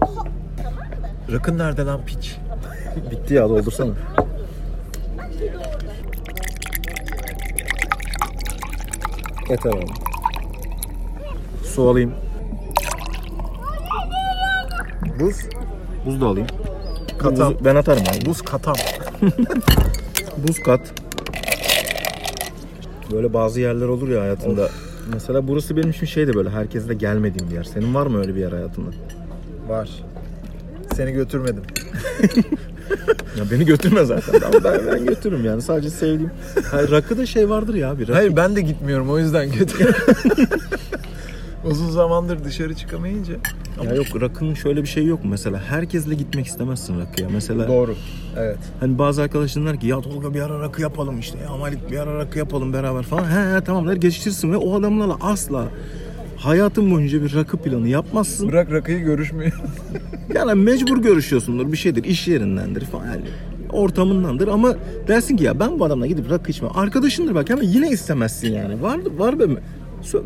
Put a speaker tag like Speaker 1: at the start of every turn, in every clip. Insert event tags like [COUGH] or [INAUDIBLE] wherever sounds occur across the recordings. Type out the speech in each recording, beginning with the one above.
Speaker 1: Tamam mı?
Speaker 2: Rakın nerede lan piç?
Speaker 3: Bitti ya doldursana.
Speaker 1: Bak bir de orada.
Speaker 3: Yeter abi. Su alayım. Buz. Buz da alayım.
Speaker 2: Katam.
Speaker 3: Buzu ben atarım abi. Buz,
Speaker 2: Buz katam.
Speaker 3: buz kat. Böyle bazı yerler olur ya hayatında. Mesela burası benim için şey de böyle herkesle gelmediğim bir yer. Senin var mı öyle bir yer hayatında?
Speaker 2: Var. Seni götürmedim.
Speaker 3: [LAUGHS] Ya beni götürme zaten ama ben, ben götürürüm yani sadece sevdiğim. Hayır rakı da şey vardır ya bir rakı.
Speaker 2: [LAUGHS] Hayır ben de gitmiyorum o yüzden kötü. [LAUGHS] Uzun zamandır dışarı çıkamayınca.
Speaker 3: Ya yok rakının şöyle bir şey yok mu mesela herkesle gitmek istemezsin rakıya. Mesela
Speaker 2: Doğru. Evet.
Speaker 3: Hani bazı arkadaşlar ki ya Tolga bir ara rakı yapalım işte ya Malik bir ara rakı yapalım beraber falan. He he tamam der geçirsin ve o adamlarla asla hayatın boyunca bir rakı planı yapmazsın.
Speaker 2: Bırak rakıyı görüşmeyi.
Speaker 3: Yani mecbur görüşüyorsundur bir şeydir iş yerindendir falan. Yani ortamındandır ama dersin ki ya ben bu adamla gidip rakı içmem. Arkadaşındır bak ama yine istemezsin yani. Var var benim.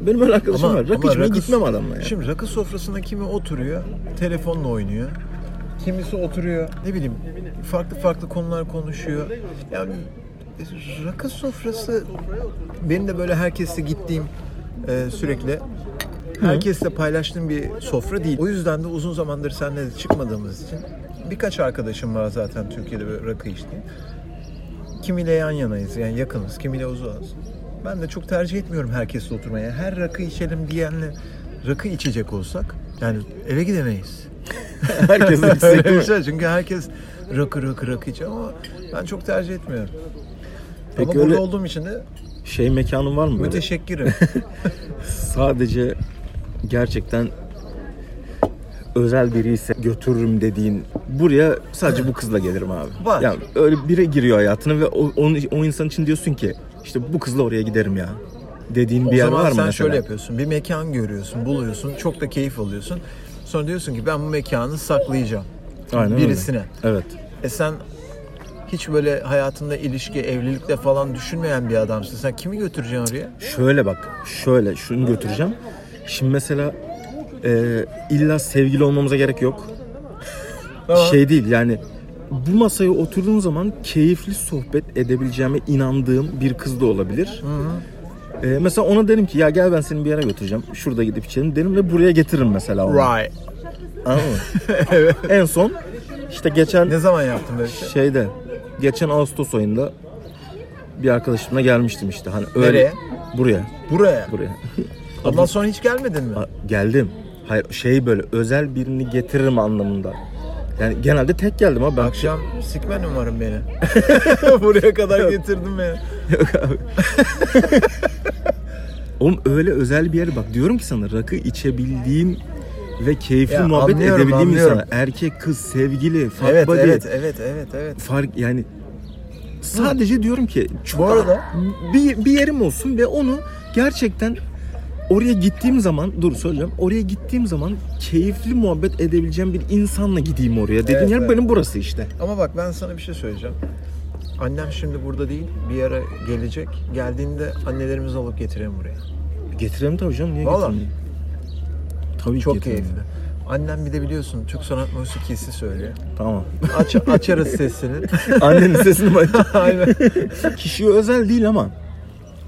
Speaker 3: Benim öyle arkadaşım var. Rakı içmeye
Speaker 2: rakı-
Speaker 3: gitmem adamla yani.
Speaker 2: Şimdi rakı sofrasına kimi oturuyor, telefonla oynuyor. Kimisi oturuyor, ne bileyim farklı farklı konular konuşuyor. Yani rakı sofrası benim de böyle herkesle gittiğim e, sürekli herkesle paylaştığım bir sofra değil. O yüzden de uzun zamandır seninle de çıkmadığımız için birkaç arkadaşım var zaten Türkiye'de böyle rakı içtiğim. Kimiyle yan yanayız yani yakınız, kimiyle uzağız. Ben de çok tercih etmiyorum herkesle oturmaya. Her rakı içelim diyenle rakı içecek olsak yani eve
Speaker 3: [LAUGHS]
Speaker 2: gidemeyiz. [LAUGHS]
Speaker 3: Herkes
Speaker 2: Öyle bir şey. Çünkü herkes rakı rakı rakı içiyor ama ben çok tercih etmiyorum.
Speaker 3: Peki
Speaker 2: ama
Speaker 3: öyle-
Speaker 2: burada olduğum için de
Speaker 3: Şey mekanın var mı böyle?
Speaker 2: müteşekkirim.
Speaker 3: sadece gerçekten özel biri ise götürürüm dediğin buraya sadece bu kızla gelirim abi.
Speaker 2: Var.
Speaker 3: Yani öyle biri giriyor hayatına ve o, onun, o insan için diyorsun ki işte bu kızla oraya giderim ya dediğin [LAUGHS] bir
Speaker 2: o
Speaker 3: yer
Speaker 2: zaman
Speaker 3: var mı
Speaker 2: sen
Speaker 3: mesela?
Speaker 2: şöyle yapıyorsun. Bir mekan görüyorsun, buluyorsun, çok da keyif alıyorsun. Sonra diyorsun ki ben bu mekanı saklayacağım.
Speaker 3: Aynen öyle.
Speaker 2: birisine.
Speaker 3: Evet.
Speaker 2: E sen hiç böyle hayatında ilişki, evlilikle falan düşünmeyen bir adamsın. Sen kimi götüreceksin oraya?
Speaker 3: Şöyle bak, şöyle şunu götüreceğim. Şimdi mesela e, illa sevgili olmamıza gerek yok.
Speaker 2: Tamam.
Speaker 3: Şey değil yani bu masaya oturduğum zaman keyifli sohbet edebileceğime inandığım bir kız da olabilir. E, mesela ona derim ki ya gel ben seni bir yere götüreceğim. Şurada gidip içelim derim ve buraya getiririm mesela onu.
Speaker 2: Right.
Speaker 3: Anladın
Speaker 2: [LAUGHS]
Speaker 3: mı? En son işte geçen
Speaker 2: Ne zaman yaptın böyle bir şey?
Speaker 3: şeyde geçen Ağustos ayında bir arkadaşımla gelmiştim işte hani öyle
Speaker 2: Nereye?
Speaker 3: buraya
Speaker 2: Buraya.
Speaker 3: buraya.
Speaker 2: Ondan sonra hiç gelmedin mi?
Speaker 3: Ha, Geldim. Hayır şey böyle özel birini getiririm anlamında. Yani genelde tek geldim ama ben
Speaker 2: Akşam sikmen umarım beni. [LAUGHS] Buraya kadar getirdin beni.
Speaker 3: Oğlum öyle özel bir yer bak diyorum ki sana rakı içebildiğim ve keyifli
Speaker 2: Ya,
Speaker 3: muhabbet
Speaker 2: anlıyorum,
Speaker 3: edebildiğim
Speaker 2: anlıyorum.
Speaker 3: insana erkek kız sevgili fuck
Speaker 2: Evet,
Speaker 3: buddy
Speaker 2: evet, evet, evet, evet.
Speaker 3: fark yani sadece diyorum ki çok
Speaker 2: Bu arada-
Speaker 3: bir, bir yerim olsun ve onu gerçekten oraya gittiğim zaman dur söyleyeceğim oraya gittiğim zaman keyifli muhabbet edebileceğim bir insanla gideyim oraya dediğim
Speaker 2: Evet,
Speaker 3: yer
Speaker 2: evet.
Speaker 3: benim burası işte.
Speaker 2: Ama bak ben sana bir şey söyleyeceğim. Annem şimdi burada değil, bir ara gelecek. Geldiğinde annelerimizi alıp getirelim buraya.
Speaker 3: Getirelim tabii canım. Niye
Speaker 2: Vallahi.
Speaker 3: getirmeyeyim? Tabii ki
Speaker 2: Çok
Speaker 3: getirelim.
Speaker 2: keyifli. Annem bir de biliyorsun Türk sanat musikisi söylüyor.
Speaker 3: Tamam. [LAUGHS]
Speaker 2: Aç, açarız sesini.
Speaker 3: Annenin sesini bak.
Speaker 2: [LAUGHS] Aynen.
Speaker 3: Kişiye özel değil ama.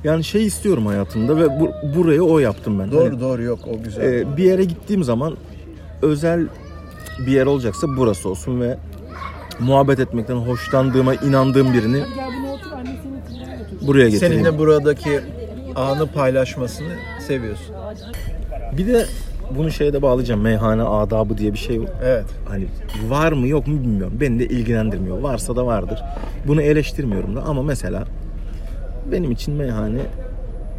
Speaker 3: Yani şey istiyorum hayatımda ve bu- burayı o yaptım
Speaker 2: [LAUGHS]
Speaker 3: ben.
Speaker 2: Doğru
Speaker 3: Hani,
Speaker 2: doğru yok o güzel.
Speaker 3: e, bir yere gittiğim zaman özel bir yer olacaksa burası olsun ve muhabbet etmekten hoşlandığıma inandığım birini buraya getireyim.
Speaker 2: Seninle buradaki anı paylaşmasını seviyorsun.
Speaker 3: Bir de bunu şeye de bağlayacağım. Meyhane adabı diye bir şey var.
Speaker 2: Evet.
Speaker 3: hani var mı yok mu bilmiyorum. Beni de ilgilendirmiyor. Varsa da vardır. Bunu eleştirmiyorum da ama mesela benim için meyhane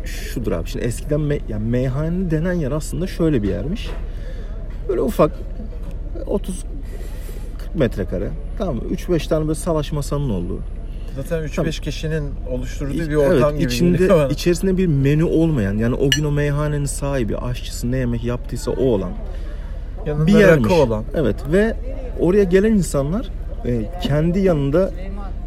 Speaker 3: şudur abi. Şimdi eskiden me- ya meyhane denen yer aslında şöyle bir yermiş. Böyle ufak 30 40 metrekare. Tamam mı? 3-5 tane böyle salaş masanın olduğu.
Speaker 2: Zaten 3-5
Speaker 3: Tabii.
Speaker 2: kişinin oluşturduğu bir
Speaker 3: Evet,
Speaker 2: ortam gibi geliyor bana.
Speaker 3: içinde içerisinde bir menü olmayan yani o gün o meyhanenin sahibi, aşçısı ne yemek yaptıysa o olan
Speaker 2: Yanında
Speaker 3: bir yermiş.
Speaker 2: rakı olan.
Speaker 3: Evet ve oraya gelen insanlar e, kendi yanında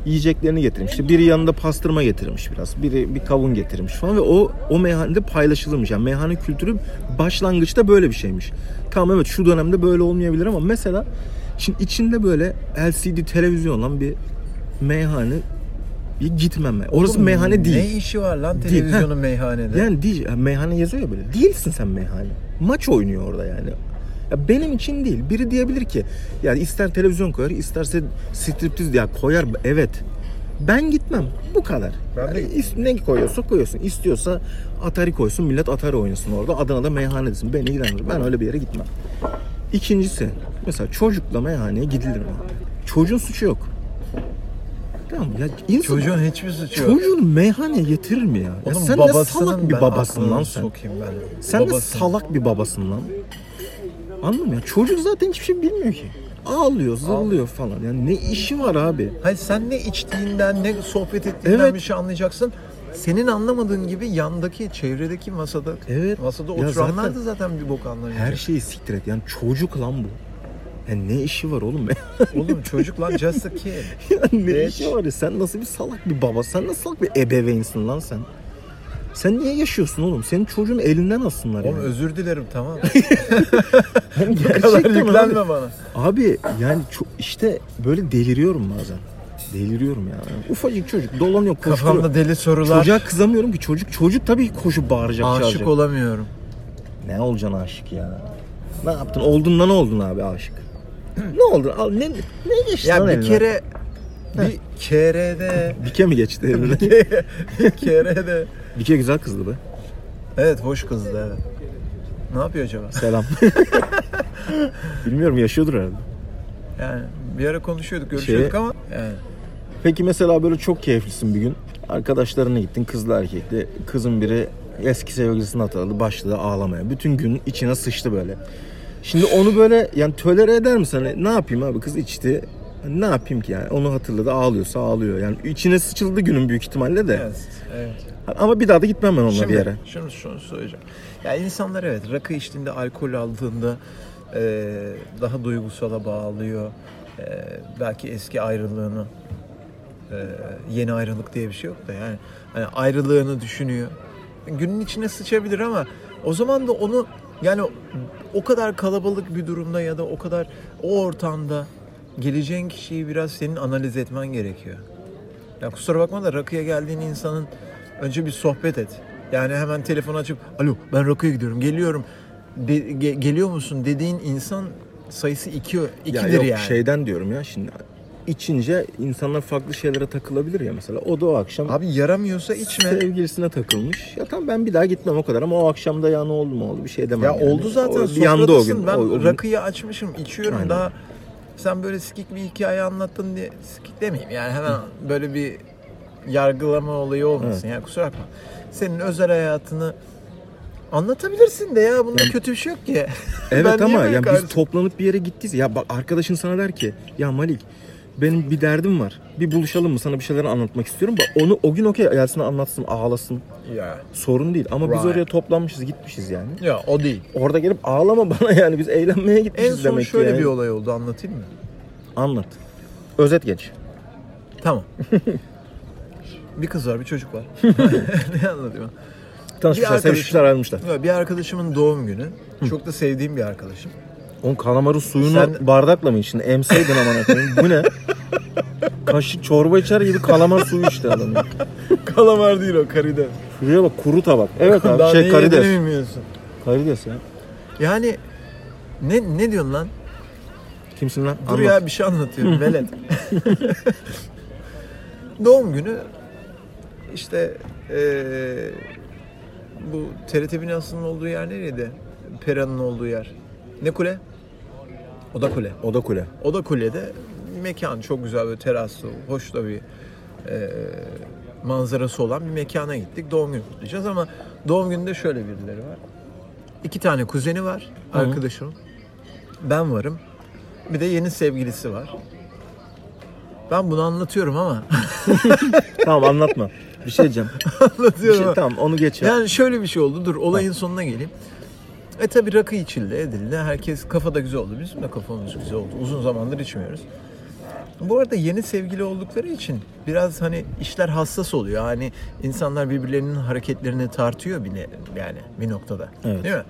Speaker 3: yiyeceklerini getirmiş. İşte biri yanında pastırma getirmiş biraz. Biri bir kavun getirmiş falan ve o o meyhanede paylaşılırmış. Yani meyhane kültürü başlangıçta böyle bir şeymiş. Tamam evet şu dönemde böyle olmayabilir ama mesela şimdi içinde böyle LCD televizyon olan bir meyhane bir gitmeme. Orası
Speaker 2: Oğlum,
Speaker 3: meyhane değil.
Speaker 2: Ne işi var lan
Speaker 3: Değil, ha.
Speaker 2: televizyonun meyhanede?
Speaker 3: Yani değil, yani meyhane yazıyor ya böyle. Değilsin sen meyhane. Maç oynuyor orada yani. Ya benim için değil. Biri diyebilir ki yani ister televizyon koyar, isterse striptiz ya koyar. Evet. Ben gitmem. Bu kadar.
Speaker 2: Ben de
Speaker 3: Yani is- ne koyuyorsa koyuyorsun. İstiyorsa Atari koysun. Millet Atari oynasın orada. Adana'da meyhane desin. Beni ilgilendirir. Ben öyle bir yere gitmem. İkincisi mesela çocukla meyhaneye gidilir mi? Çocuğun suçu yok. Tamam mı? ya insan-
Speaker 2: Çocuğun hiçbir suçu yok.
Speaker 3: Çocuğun meyhaneye getirir mi ya? ya
Speaker 2: Onun
Speaker 3: sen ne
Speaker 2: babasının
Speaker 3: salak bir
Speaker 2: ben
Speaker 3: babasın lan
Speaker 2: aklını
Speaker 3: sen.
Speaker 2: Sokayım ben.
Speaker 3: Sen ne
Speaker 2: Babasının.
Speaker 3: salak bir babasın lan. Anladın mı ya? Çocuk zaten hiçbir şey bilmiyor ki. Ağlıyor, zırlıyor falan. Yani ne işi var abi?
Speaker 2: Hayır sen ne içtiğinden ne sohbet ettiğinden
Speaker 3: Evet.
Speaker 2: bir şey anlayacaksın. Senin anlamadığın gibi yandaki, çevredeki masada,
Speaker 3: Evet.
Speaker 2: masada
Speaker 3: Ya
Speaker 2: oturanlar
Speaker 3: zaten-
Speaker 2: da zaten bir bok anlamayacak.
Speaker 3: Her şeyi siktir et. Yani çocuk lan bu. Yani ne işi var oğlum? [LAUGHS]
Speaker 2: Oğlum çocuk lan just a kid.
Speaker 3: yani ne
Speaker 2: Evet.
Speaker 3: işi var ya? Sen nasıl bir salak bir baba? Sen nasıl salak bir ebeveynsin lan sen? Sen niye yaşıyorsun oğlum? Senin çocuğun elinden alsınlar
Speaker 2: Oğlum
Speaker 3: yani.
Speaker 2: özür dilerim tamam.
Speaker 3: Yani
Speaker 2: Bu kadar
Speaker 3: gerçekten abi.
Speaker 2: yüklenme bana.
Speaker 3: Abi yani ço- işte böyle deliriyorum bazen. Deliriyorum ya. Ufacık çocuk dolanıyor koşturuyor.
Speaker 2: Kafamda deli sorular.
Speaker 3: Çocuğa kızamıyorum ki çocuk çocuk tabii koşup bağıracak
Speaker 2: Aşık
Speaker 3: çağıracak.
Speaker 2: olamıyorum.
Speaker 3: Ne olacaksın aşık ya? Ne yaptın? Oldun da ne oldun abi aşık? ne oldun? Al, ne, ne geçti
Speaker 2: Ya
Speaker 3: lan
Speaker 2: bir
Speaker 3: eline?
Speaker 2: kere bir kerede
Speaker 3: Bike mi geçti eline?
Speaker 2: [LAUGHS] bir kerede
Speaker 3: Bike güzel kızdı be.
Speaker 2: Evet hoş kızdı evet. Ne yapıyor acaba? [LAUGHS]
Speaker 3: Selam. Bilmiyorum yaşıyordur herhalde.
Speaker 2: Yani bir ara konuşuyorduk, görüşüyorduk ama yani
Speaker 3: Peki mesela böyle çok keyiflisin bir gün. Arkadaşlarına gittin kızla erkekli. Kızın biri eski sevgilisini hatırladı. Başladı ağlamaya. Bütün gün içine sıçtı böyle. Şimdi onu böyle yani tölere eder misin? Hani ne yapayım abi kız içti. Hani Ne yapayım ki yani? Onu hatırladı ağlıyorsa ağlıyor. Yani içine sıçıldı günün büyük ihtimalle de.
Speaker 2: evet. evet.
Speaker 3: Ama bir daha da gitmem ben onunla
Speaker 2: Şimdi
Speaker 3: bir yere.
Speaker 2: şunu, şunu söyleyeceğim. Ya insanlar evet rakı içtiğinde, alkol aldığında eee, daha duygusala bağlıyor. Eee, belki eski ayrılığını eee, yeni ayrılık diye bir şey yok da yani hani ayrılığını düşünüyor. Günün içine sıçabilir ama o zaman da onu yani o kadar kalabalık bir durumda ya da o kadar o ortamda geleceğin kişiyi biraz senin analiz etmen gerekiyor. Ya kusura bakma da rakıya geldiğin insanın önce bir sohbet et. Yani hemen telefon açıp alo ben rakıya gidiyorum geliyorum de- ge- geliyor musun dediğin insan sayısı iki,
Speaker 3: Ya
Speaker 2: ikidir
Speaker 3: yok, şey-
Speaker 2: yani.
Speaker 3: Şeyden diyorum ya şimdi içince insanlar farklı şeylere takılabilir ya mesela. O da o akşam
Speaker 2: Abi yaramıyorsa
Speaker 3: [LAUGHS]
Speaker 2: içme.
Speaker 3: Sevgilisine takılmış. Ya tamam ben bir daha gitmem o kadar ama o akşam da ya ne oldu mu oldu bir şey demem.
Speaker 2: Ya
Speaker 3: yani.
Speaker 2: oldu zaten
Speaker 3: O, yandı o
Speaker 2: sofradasın.
Speaker 3: gün.
Speaker 2: Ben
Speaker 3: O- o gün-
Speaker 2: rakıyı açmışım, içiyorum
Speaker 3: Aynen.
Speaker 2: daha. Sen böyle sikik bir hikaye anlattın diye sikik demeyeyim yani hemen böyle bir yargılama olayı olmasın ya kusura bakma. Senin özel hayatını anlatabilirsin de ya bunda kötü bir şey
Speaker 3: [LAUGHS]
Speaker 2: yok ki. Ben
Speaker 3: Evet
Speaker 2: niye
Speaker 3: ama
Speaker 2: böyle
Speaker 3: yani
Speaker 2: karşı-
Speaker 3: biz toplanıp bir yere gittiyiz. Ya bak arkadaşın sana der ki ya Malik benim bir derdim var. Bir buluşalım mı? Sana bir şeyler anlatmak istiyorum. Bak onu o gün okey gelsin anlatsın, ağlasın.
Speaker 2: ya.
Speaker 3: Sorun değil. Ama biz
Speaker 2: Right.
Speaker 3: oraya toplanmışız, gitmişiz yani.
Speaker 2: ya o değil.
Speaker 3: Orada gelip ağlama [LAUGHS] bana yani biz eğlenmeye
Speaker 2: En
Speaker 3: gitmişiz
Speaker 2: son
Speaker 3: demek ki
Speaker 2: şöyle
Speaker 3: yani.
Speaker 2: bir olay oldu anlatayım mı?
Speaker 3: Anlat. Özet geç. [LAUGHS]
Speaker 2: Tamam. bir kız var, bir çocuk var. [LAUGHS] ne anlatayım?
Speaker 3: Tanışmışlar,
Speaker 2: arkadaşım-
Speaker 3: sevişmişler, ayrılmışlar.
Speaker 2: Ya Bir arkadaşımın doğum günü. Çok da sevdiğim bir arkadaşım.
Speaker 3: Oğlum kalamarın suyunu
Speaker 2: Sen-
Speaker 3: bardakla mı içtin? Emseydin aman koyayım. Bu ne? Kaşık çorba içer gibi kalamar suyu içti adam. ya.
Speaker 2: Kalamar değil o, karides.
Speaker 3: Şuraya bak kuru tabak. Evet
Speaker 2: [LAUGHS]
Speaker 3: abi
Speaker 2: Daha
Speaker 3: şey
Speaker 2: ne
Speaker 3: karides.
Speaker 2: yediğini bilmiyorsun.
Speaker 3: Karides ya.
Speaker 2: Yani ne ne diyorsun lan?
Speaker 3: Kimsin lan?
Speaker 2: Dur
Speaker 3: Anlat.
Speaker 2: ya bir şey anlatıyorum velet. [LAUGHS] Doğum günü işte eee, bu TRT binasının olduğu yer nereydi? Pera'nın olduğu yer. Ne kule? Oda kule.
Speaker 3: Oda kule.
Speaker 2: Oda kulede mekan çok güzel böyle teraslı, hoş da bir eee, manzarası olan bir mekana gittik. Doğum günü kutlayacağız ama doğum gününde şöyle birileri var. İki tane kuzeni var arkadaşım. Ben varım. Bir de yeni sevgilisi var. Ben bunu anlatıyorum ama
Speaker 3: tamam anlatma. Bir şey diyeceğim.
Speaker 2: [LAUGHS]
Speaker 3: Bir
Speaker 2: anlatıyorum.
Speaker 3: şey,
Speaker 2: ama.
Speaker 3: tamam onu geç ya.
Speaker 2: Yani şöyle bir şey oldu. Dur olayın sonuna geleyim. E tabi rakı içildi, edildi. Herkes kafada güzel oldu. Bizim de kafamız güzel oldu. Uzun zamandır içmiyoruz. Bu arada yeni sevgili oldukları için biraz hani işler hassas oluyor. Hani insanlar birbirlerinin hareketlerini tartıyor bir ne, yani bir noktada.
Speaker 3: Evet.
Speaker 2: Değil mi?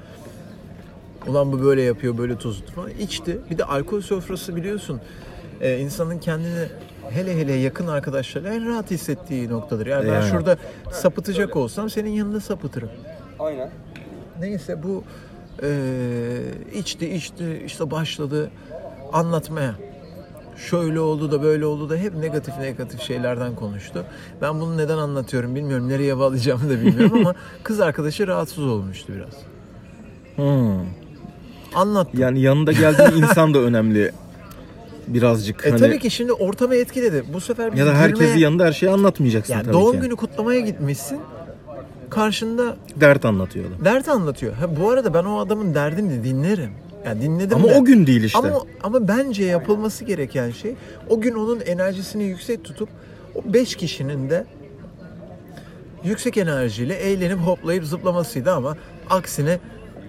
Speaker 2: Ulan bu böyle yapıyor, böyle tozuttu falan. İçti. Bir de alkol sofrası biliyorsun. e, insanın kendini hele hele yakın arkadaşlarıyla en rahat hissettiği noktadır. Yani ben
Speaker 3: Yani.
Speaker 2: şurada sapıtacak olsam senin yanında sapıtırım.
Speaker 4: Aynen.
Speaker 2: Neyse bu eee, içti içti işte başladı anlatmaya. Şöyle oldu da böyle oldu da hep negatif negatif şeylerden konuştu. Ben bunu neden anlatıyorum bilmiyorum. Nereye bağlayacağımı da bilmiyorum
Speaker 3: [LAUGHS]
Speaker 2: ama kız arkadaşı rahatsız olmuştu biraz.
Speaker 3: Hmm.
Speaker 2: Anlattı.
Speaker 3: Yani yanında geldiğin insan da önemli birazcık.
Speaker 2: e
Speaker 3: hani,
Speaker 2: tabii ki şimdi ortamı etkiledi. Bu sefer
Speaker 3: Ya da
Speaker 2: gülmeye-
Speaker 3: herkesi yanında her şeyi anlatmayacaksın
Speaker 2: Yani
Speaker 3: tabii
Speaker 2: doğum
Speaker 3: ki.
Speaker 2: günü kutlamaya gitmişsin. Karşında
Speaker 3: Dert anlatıyor adam.
Speaker 2: dert anlatıyor. Ha, bu arada ben o adamın derdini dinlerim. Yani dinledim
Speaker 3: Ama
Speaker 2: de.
Speaker 3: o gün değil işte.
Speaker 2: Ama ama bence yapılması gereken şey o gün onun enerjisini yüksek tutup o 5 kişinin de yüksek enerjiyle eğlenip hoplayıp zıplamasıydı ama aksine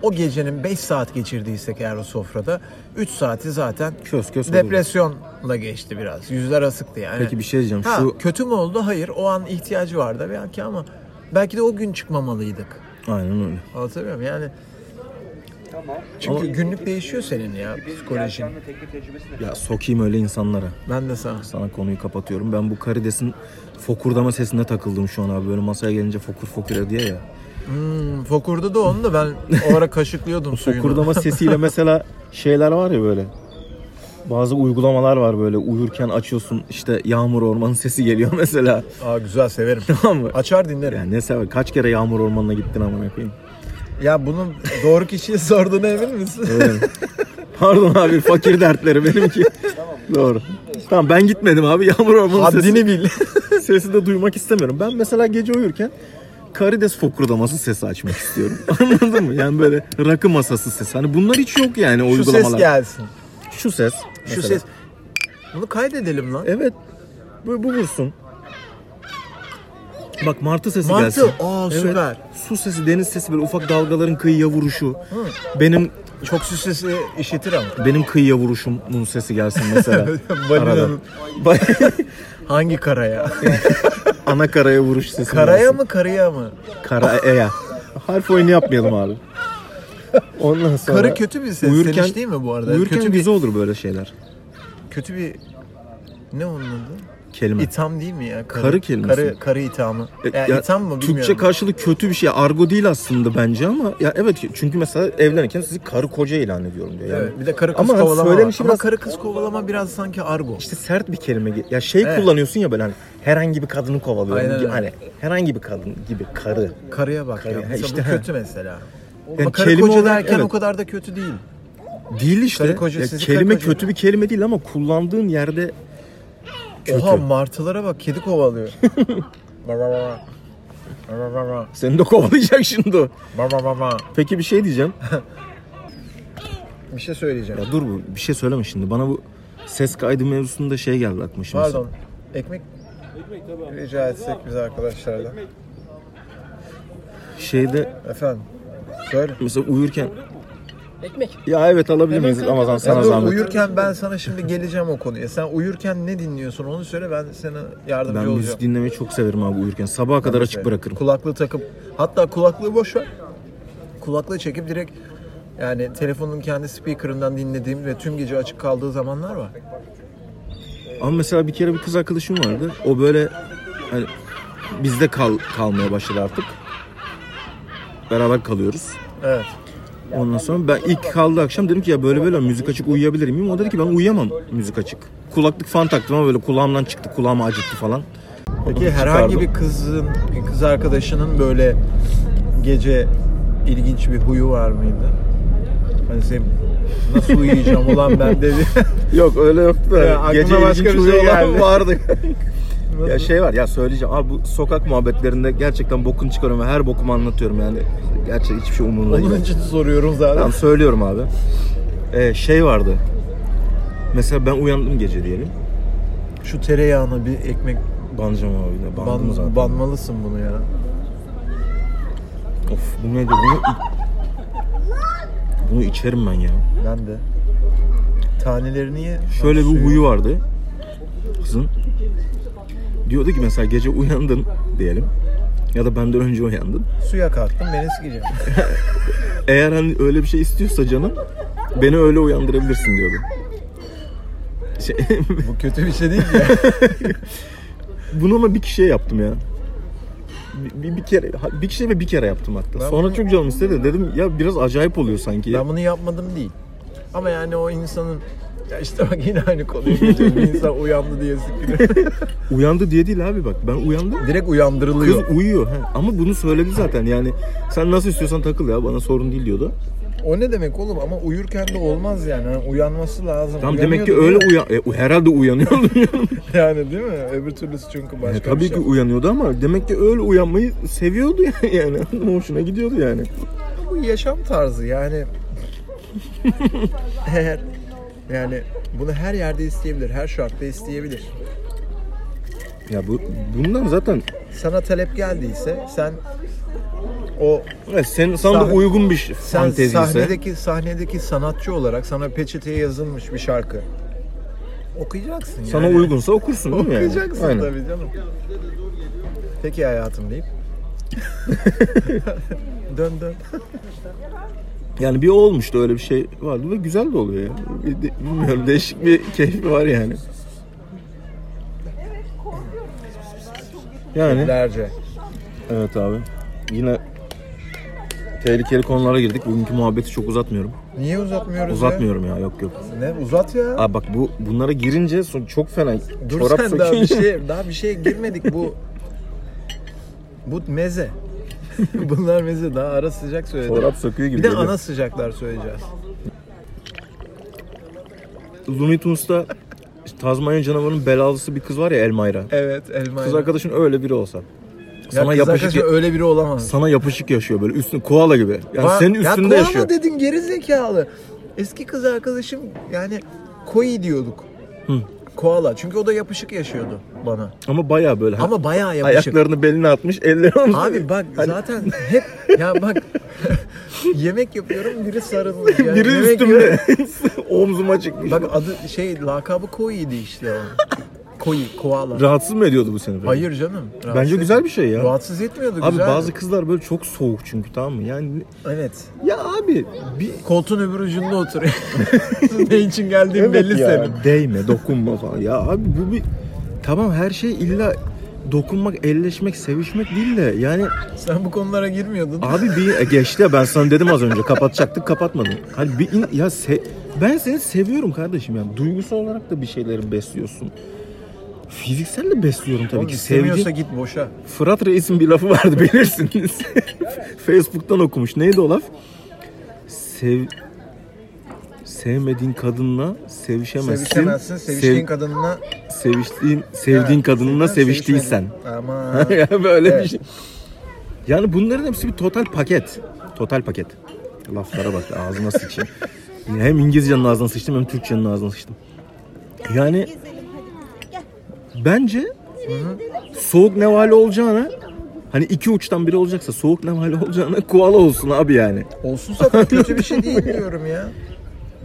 Speaker 2: o gecenin 5 saat geçirdiysek eğer o sofrada 3 saati zaten
Speaker 3: Kös kös olurdu.
Speaker 2: depresyonla geçti biraz. Yüzler asıktı yani.
Speaker 3: Peki bir şey diyeceğim.
Speaker 2: Ha,
Speaker 3: Şu
Speaker 2: kötü mü oldu? Hayır. O an ihtiyacı vardı belki ama belki de o gün çıkmamalıydık.
Speaker 3: aynen öyle.
Speaker 2: Anlatabiliyor muyum? Yani
Speaker 4: Tamam.
Speaker 2: çünkü günlük değişiyor senin ya psikolojin.
Speaker 4: Yelkenle tekne tecrübesi ne?
Speaker 3: Ya sokayım öyle insanlara.
Speaker 2: Ben de sana.
Speaker 3: Sana konuyu kapatıyorum. Ben bu karidesin fokurdama sesine takıldım şu an abi. Böyle masaya gelince fokur fokur diye ya.
Speaker 2: Fokurdu da onu da
Speaker 3: [LAUGHS]
Speaker 2: ben o ara kaşıklıyordum suyunu.
Speaker 3: Fokurdama sesiyle mesela şeyler var ya böyle. Bazı uygulamalar var böyle uyurken açıyorsun işte yağmur ormanın sesi geliyor [LAUGHS] mesela.
Speaker 2: Aa güzel severim.
Speaker 3: Tamam mı?
Speaker 2: Açar dinlerim.
Speaker 3: Yani ne sever kaç kere yağmur ormanına gittin amına koyayım.
Speaker 2: Ya bunu doğru kişiye sorduğuna emin misin?
Speaker 3: Öyle mi? Pardon abi fakir dertleri [LAUGHS] benimki. Doğru. Tamam ben gitmedim abi yağmur ormanı sesi,
Speaker 2: Haddini bil.
Speaker 3: sesi de duymak istemiyorum. Ben mesela gece uyurken karides fokurdaması sesi açmak istiyorum. [LAUGHS] Anladın mı? Yani böyle rakı masası sesi. Hani bunlar hiç yok yani
Speaker 2: Şu
Speaker 3: uygulamalar.
Speaker 2: ses gelsin.
Speaker 3: Şu ses.
Speaker 2: Şu
Speaker 3: mesela.
Speaker 2: ses. Bunu kaydedelim lan.
Speaker 3: Evet. Bu, bu vursun. Bak martı sesi
Speaker 2: Martı.
Speaker 3: gelsin.
Speaker 2: Aa, süper.
Speaker 3: Su sesi, deniz sesi böyle ufak dalgaların kıyıya vuruşu. Benim
Speaker 2: Çok su sesi işitir ama.
Speaker 3: benim kıyıya vuruşumun sesi gelsin
Speaker 2: [LAUGHS]
Speaker 3: mesela. Arada.
Speaker 2: Balinanın [LAUGHS] hangi karaya?
Speaker 3: Ana karaya vuruş sesi
Speaker 2: karaya
Speaker 3: gelsin.
Speaker 2: mı karıya mı?
Speaker 3: Karaya. e, Harf oyunu yapmayalım abi. Ondan sonra...
Speaker 2: Karı kötü bir ses. Uyurken, değil mi bu arada?
Speaker 3: Uyurken
Speaker 2: kötü bir,
Speaker 3: güzel olur böyle şeyler.
Speaker 2: kötü bir ne onun adı?
Speaker 3: Kelime.
Speaker 2: İtham değil mi ya?
Speaker 3: Karı kelimesi mi?
Speaker 2: Karı, karı ithamı.
Speaker 3: E,
Speaker 2: Ya,
Speaker 3: ya
Speaker 2: itham mı bilmiyorum.
Speaker 3: Türkçe karşılığı kötü bir şey. Argo değil aslında bence ama ya evet çünkü mesela evlenirken sizi karı koca ilan ediyorum diyor. Yani
Speaker 2: Evet, bir şey de karı kız
Speaker 3: Ama
Speaker 2: kovalama. var.
Speaker 3: söylenişi
Speaker 2: Ama
Speaker 3: biraz-
Speaker 2: karı kız kovalama biraz sanki argo.
Speaker 3: işte sert bir kelime. ge- Ya şey
Speaker 2: Evet.
Speaker 3: kullanıyorsun ya böyle hani herhangi bir kadını kovalıyorum.
Speaker 2: Aynen
Speaker 3: gibi-
Speaker 2: öyle.
Speaker 3: Hani herhangi bir kadın gibi karı.
Speaker 2: Karıya bak
Speaker 3: Karı-
Speaker 2: ya.
Speaker 3: Ha,
Speaker 2: Mesela
Speaker 3: işte,
Speaker 2: bu
Speaker 3: ha.
Speaker 2: kötü mesela.
Speaker 3: Yani
Speaker 2: Ama karı
Speaker 3: kelime
Speaker 2: koca
Speaker 3: olarak,
Speaker 2: derken
Speaker 3: evet.
Speaker 2: o kadar da kötü değil.
Speaker 3: Değil işte.
Speaker 2: Karı koca
Speaker 3: Ya
Speaker 2: sizi karı
Speaker 3: kelime
Speaker 2: koca-
Speaker 3: kötü bir kelime değil ama kullandığın yerde kötü.
Speaker 2: Oha martılara bak kedi [LAUGHS] kovalıyor. Ba ba ba ba. Ba ba ba
Speaker 3: Seni de kovalayacak şimdi o.
Speaker 2: ba. Ba ba ba ba.
Speaker 3: Peki bir şey diyeceğim.
Speaker 2: Bir şey söyleyeceğim.
Speaker 3: Ya dur bu bir şey söyleme şimdi. Bana bu ses kaydı mevzusunda şey geldi aklıma şimdi.
Speaker 2: Pardon. Ekmek rica etsek biz arkadaşlardan.
Speaker 3: Şeyde
Speaker 2: Efendim. Söyle.
Speaker 3: mesela uyurken
Speaker 1: Ekmek.
Speaker 3: ya evet alabilir miyiz
Speaker 1: Hemen kanka.
Speaker 3: Ramazan
Speaker 2: Sen
Speaker 3: sana zahmet.
Speaker 2: uyurken ben sana şimdi geleceğim o konuya. Sen uyurken ne dinliyorsun onu söyle ben sana yardımcı
Speaker 3: Ben
Speaker 2: olacağım.
Speaker 3: müzik dinlemeyi çok severim abi uyurken. Sabaha kadar açık bırakırım.
Speaker 2: Kulaklığı takıp hatta kulaklığı boş ver. Kulaklığı çekip direkt yani telefonun kendi speaker'ından dinlediğim ve tüm gece açık kaldığı zamanlar var.
Speaker 3: Ama mesela bir kere bir kız arkadaşım vardı. O böyle hani bizde kal kalmaya başladı artık. Beraber kalıyoruz.
Speaker 2: Evet.
Speaker 3: Ondan sonra ben ilk kaldı akşam dedim ki ya böyle böyle müzik açık uyuyabilir miyim? O dedi ki ben uyuyamam müzik açık. Kulaklık falan taktım ama böyle kulağımdan çıktı. Kulağıma acıttı falan.
Speaker 2: Peki herhangi
Speaker 3: Çıkardım.
Speaker 2: bir kızın, kız arkadaşının böyle gece ilginç bir huyu var mıydı? Hani sen nasıl uyuyacağım ulan ben
Speaker 3: [LAUGHS]
Speaker 2: dedi.
Speaker 3: Yok öyle yoktu da.
Speaker 2: Ya, aklına
Speaker 3: Gece
Speaker 2: başka
Speaker 3: ilginç
Speaker 2: bir şey
Speaker 3: uyuyorlar
Speaker 2: geldi.
Speaker 3: [LAUGHS] vardı.
Speaker 2: [LAUGHS]
Speaker 3: ya şey var ya söyleyeceğim. Abi bu sokak muhabbetlerinde gerçekten bokunu çıkarıyorum ve her bokumu anlatıyorum yani. Gerçi hiçbir şey umurumda değil.
Speaker 2: Onun için soruyorum zaten.
Speaker 3: Tamam söylüyorum abi. Ee, şey vardı. Mesela ben uyandım gece diyelim.
Speaker 2: Şu tereyağına bir ekmek
Speaker 3: Banacağım abi yine. Bandım
Speaker 2: ban-
Speaker 3: zaten.
Speaker 2: banmalısın bunu ya.
Speaker 3: Of bu neydi? Bunu, bunu içerim ben ya.
Speaker 2: Ben de. Tanelerini ye.
Speaker 3: Şöyle bir
Speaker 2: Suyu-
Speaker 3: huyu vardı. kızın diyordu ki mesela gece uyandın diyelim ya da benden önce uyandın.
Speaker 2: Suya kalktım beni sikeceğim.
Speaker 3: Eğer hani öyle bir şey istiyorsa canım beni öyle uyandırabilirsin diyordu. Şey,
Speaker 2: Bu kötü bir şey değil ki.
Speaker 3: bunu ama bir kişiye yaptım ya. Bir, bir, bir kere bir kişiye ve bir kere yaptım hatta.
Speaker 2: Ben
Speaker 3: Sonra
Speaker 2: bunu-
Speaker 3: çok canım istedi. Dedim ya biraz acayip oluyor sanki.
Speaker 2: Ben bunu yapmadım değil. Ama yani o insanın ya işte bak yine aynı konuya geliyoruz. Bir insan uyandı diye sikiliyor.
Speaker 3: Uyandı diye değil abi bak. Ben uyandım.
Speaker 2: Direkt
Speaker 3: Kız
Speaker 2: uyandırılıyor.
Speaker 3: uyuyor. He. Ama bunu söyledi zaten. Yani sen nasıl istiyorsan takıl ya bana sorun değil diyordu.
Speaker 2: O ne demek oğlum ama uyurken de olmaz yani. Hani uyanması lazım.
Speaker 3: Tam demek ki
Speaker 2: Uyanıyordu
Speaker 3: öyle uyan e, herhalde uyanıyordu.
Speaker 2: [LAUGHS] Yani değil mi? Öbür türlüsü çünkü başka
Speaker 3: E, tabii
Speaker 2: bir
Speaker 3: ki
Speaker 2: şey.
Speaker 3: uyanıyordu ama demek ki öyle uyanmayı seviyordu [LAUGHS] yani. yani. Hoşuna gidiyordu yani.
Speaker 2: Bu yaşam tarzı
Speaker 3: [LAUGHS]
Speaker 2: yani. Eğer yani bunu her yerde isteyebilir, her şartta isteyebilir.
Speaker 3: Ya bu bundan zaten
Speaker 2: Sana talep geldiyse sen o
Speaker 3: Evet, e, sen sana da
Speaker 2: Sahne-
Speaker 3: uygun bir ş-
Speaker 2: sen
Speaker 3: fantezi ise
Speaker 2: sahnedeki sahnedeki sanatçı olarak sana peçeteye yazılmış bir şarkı okuyacaksın yani.
Speaker 3: sana uygunsa okursun değil mi yani?
Speaker 2: okuyacaksın
Speaker 3: Aynen.
Speaker 2: tabii canım. Peki hayatım
Speaker 3: [LAUGHS]
Speaker 2: deyip dön dön.
Speaker 3: Yani bir o olmuştu öyle bir şey vardı ve güzel de oluyor ya. Bir de- Bilmiyorum değişik bir keyfi var yani. Yani
Speaker 2: Lerce.
Speaker 3: evet abi. Yine tehlikeli konulara girdik. Bugünkü muhabbeti çok uzatmıyorum.
Speaker 2: Niye uzatmıyoruz
Speaker 3: Uzatmıyorum ya yok yok.
Speaker 2: ya? Ne uzat ya.
Speaker 3: Abi bak bu bunlara girince son çok fena
Speaker 2: Dur
Speaker 3: çorap
Speaker 2: sen daha
Speaker 3: söküyor.
Speaker 2: bir şey daha bir şeye girmedik bu. Bu meze. [LAUGHS] Bunlar meze daha ara sıcak söyledim.
Speaker 3: çorap söküyor gibi.
Speaker 2: bir de
Speaker 3: geliyor.
Speaker 2: ana sıcaklar söyleyeceğiz.
Speaker 3: Looney Tunes'ta Tazmanya canavarının belalısı bir kız var ya Elmayra.
Speaker 2: Evet elma.
Speaker 3: Kız arkadaşın öyle biri olsa.
Speaker 2: Ya
Speaker 3: Sana
Speaker 2: kız
Speaker 3: yapışık
Speaker 2: arkadaşın öyle biri olamaz.
Speaker 3: sana yapışık yaşıyor böyle üstün koala gibi. Yani
Speaker 2: Va-
Speaker 3: senin
Speaker 2: ya
Speaker 3: üstünde
Speaker 2: koala
Speaker 3: yaşıyor.
Speaker 2: dedin geri zekalı. Eski kız arkadaşım yani koi diyorduk.
Speaker 3: Hı.
Speaker 2: Koala. Çünkü o da yapışık yaşıyordu bana.
Speaker 3: Ama bayağı böyle.
Speaker 2: Ama bayağı yapışık.
Speaker 3: ayaklarını beline atmış, elleri omzuna.
Speaker 2: Abi
Speaker 3: [LAUGHS]
Speaker 2: bak
Speaker 3: Hani
Speaker 2: zaten hep ya bak [LAUGHS] yemek yapıyorum biri sarıldı. Yani
Speaker 3: biri
Speaker 2: yemek
Speaker 3: üstümde [LAUGHS] omzuma çıkmış.
Speaker 2: Bak adı şey lakabı Koi'ydi işte o. Koi, koala.
Speaker 3: Rahatsız mı ediyordu bu seni? böyle?
Speaker 2: Hayır canım. rahatsız
Speaker 3: Bence güzel bir şey ya.
Speaker 2: Rahatsız etmiyordu güzel.
Speaker 3: Abi bazı kızlar böyle çok soğuk çünkü tamam mı? Yani
Speaker 2: Evet.
Speaker 3: ya abi bir
Speaker 2: Koltuğun öbür ucunda
Speaker 3: [LAUGHS]
Speaker 2: oturuyor. ne için geldiğin belli
Speaker 3: ya,
Speaker 2: senin.
Speaker 3: Değme, dokunma falan. Ya abi bu bir tamam her şey illa dokunmak, elleşmek, sevişmek değil de yani
Speaker 2: Sen bu konulara girmiyordun.
Speaker 3: Abi bir e, geçti ya ben sana dedim az önce kapatacaktık kapatmadın. Hani bir in- ya se- ben seni seviyorum kardeşim yani duygusal olarak da bir şeyleri besliyorsun. Fiziksel de besliyorum tabii
Speaker 2: Oğlum
Speaker 3: ki.
Speaker 2: istemiyorsa
Speaker 3: Sevgi.
Speaker 2: git boşa.
Speaker 3: Fırat Reis'in bir lafı vardı bilirsiniz. [LAUGHS] Facebook'tan okumuş. Neydi o laf? Sev sevmediğin kadınla sevişemezsin.
Speaker 2: Sevişemezsin. Seviştiğin
Speaker 3: Sev-
Speaker 2: kadınla...
Speaker 3: seviştiğin sevdiğin
Speaker 2: Ha,
Speaker 3: kadınla seviştiysen.
Speaker 2: sevişmedin.
Speaker 3: [LAUGHS]
Speaker 2: Ama...
Speaker 3: yani böyle
Speaker 2: Evet.
Speaker 3: bir şey. Yani bunların hepsi bir total paket. Total paket. Laflara bak
Speaker 2: [LAUGHS]
Speaker 3: ağzına sıçayım. hem İngilizcenin ağzına sıçtım hem Türkçenin ağzına sıçtım. Yani
Speaker 1: Gezelim hadi. Gel.
Speaker 3: bence soğuk nevale olacağına hani iki uçtan biri olacaksa soğuk nevale olacağına koala olsun abi yani.
Speaker 2: Olsun zaten kötü bir şey değil diyorum ya.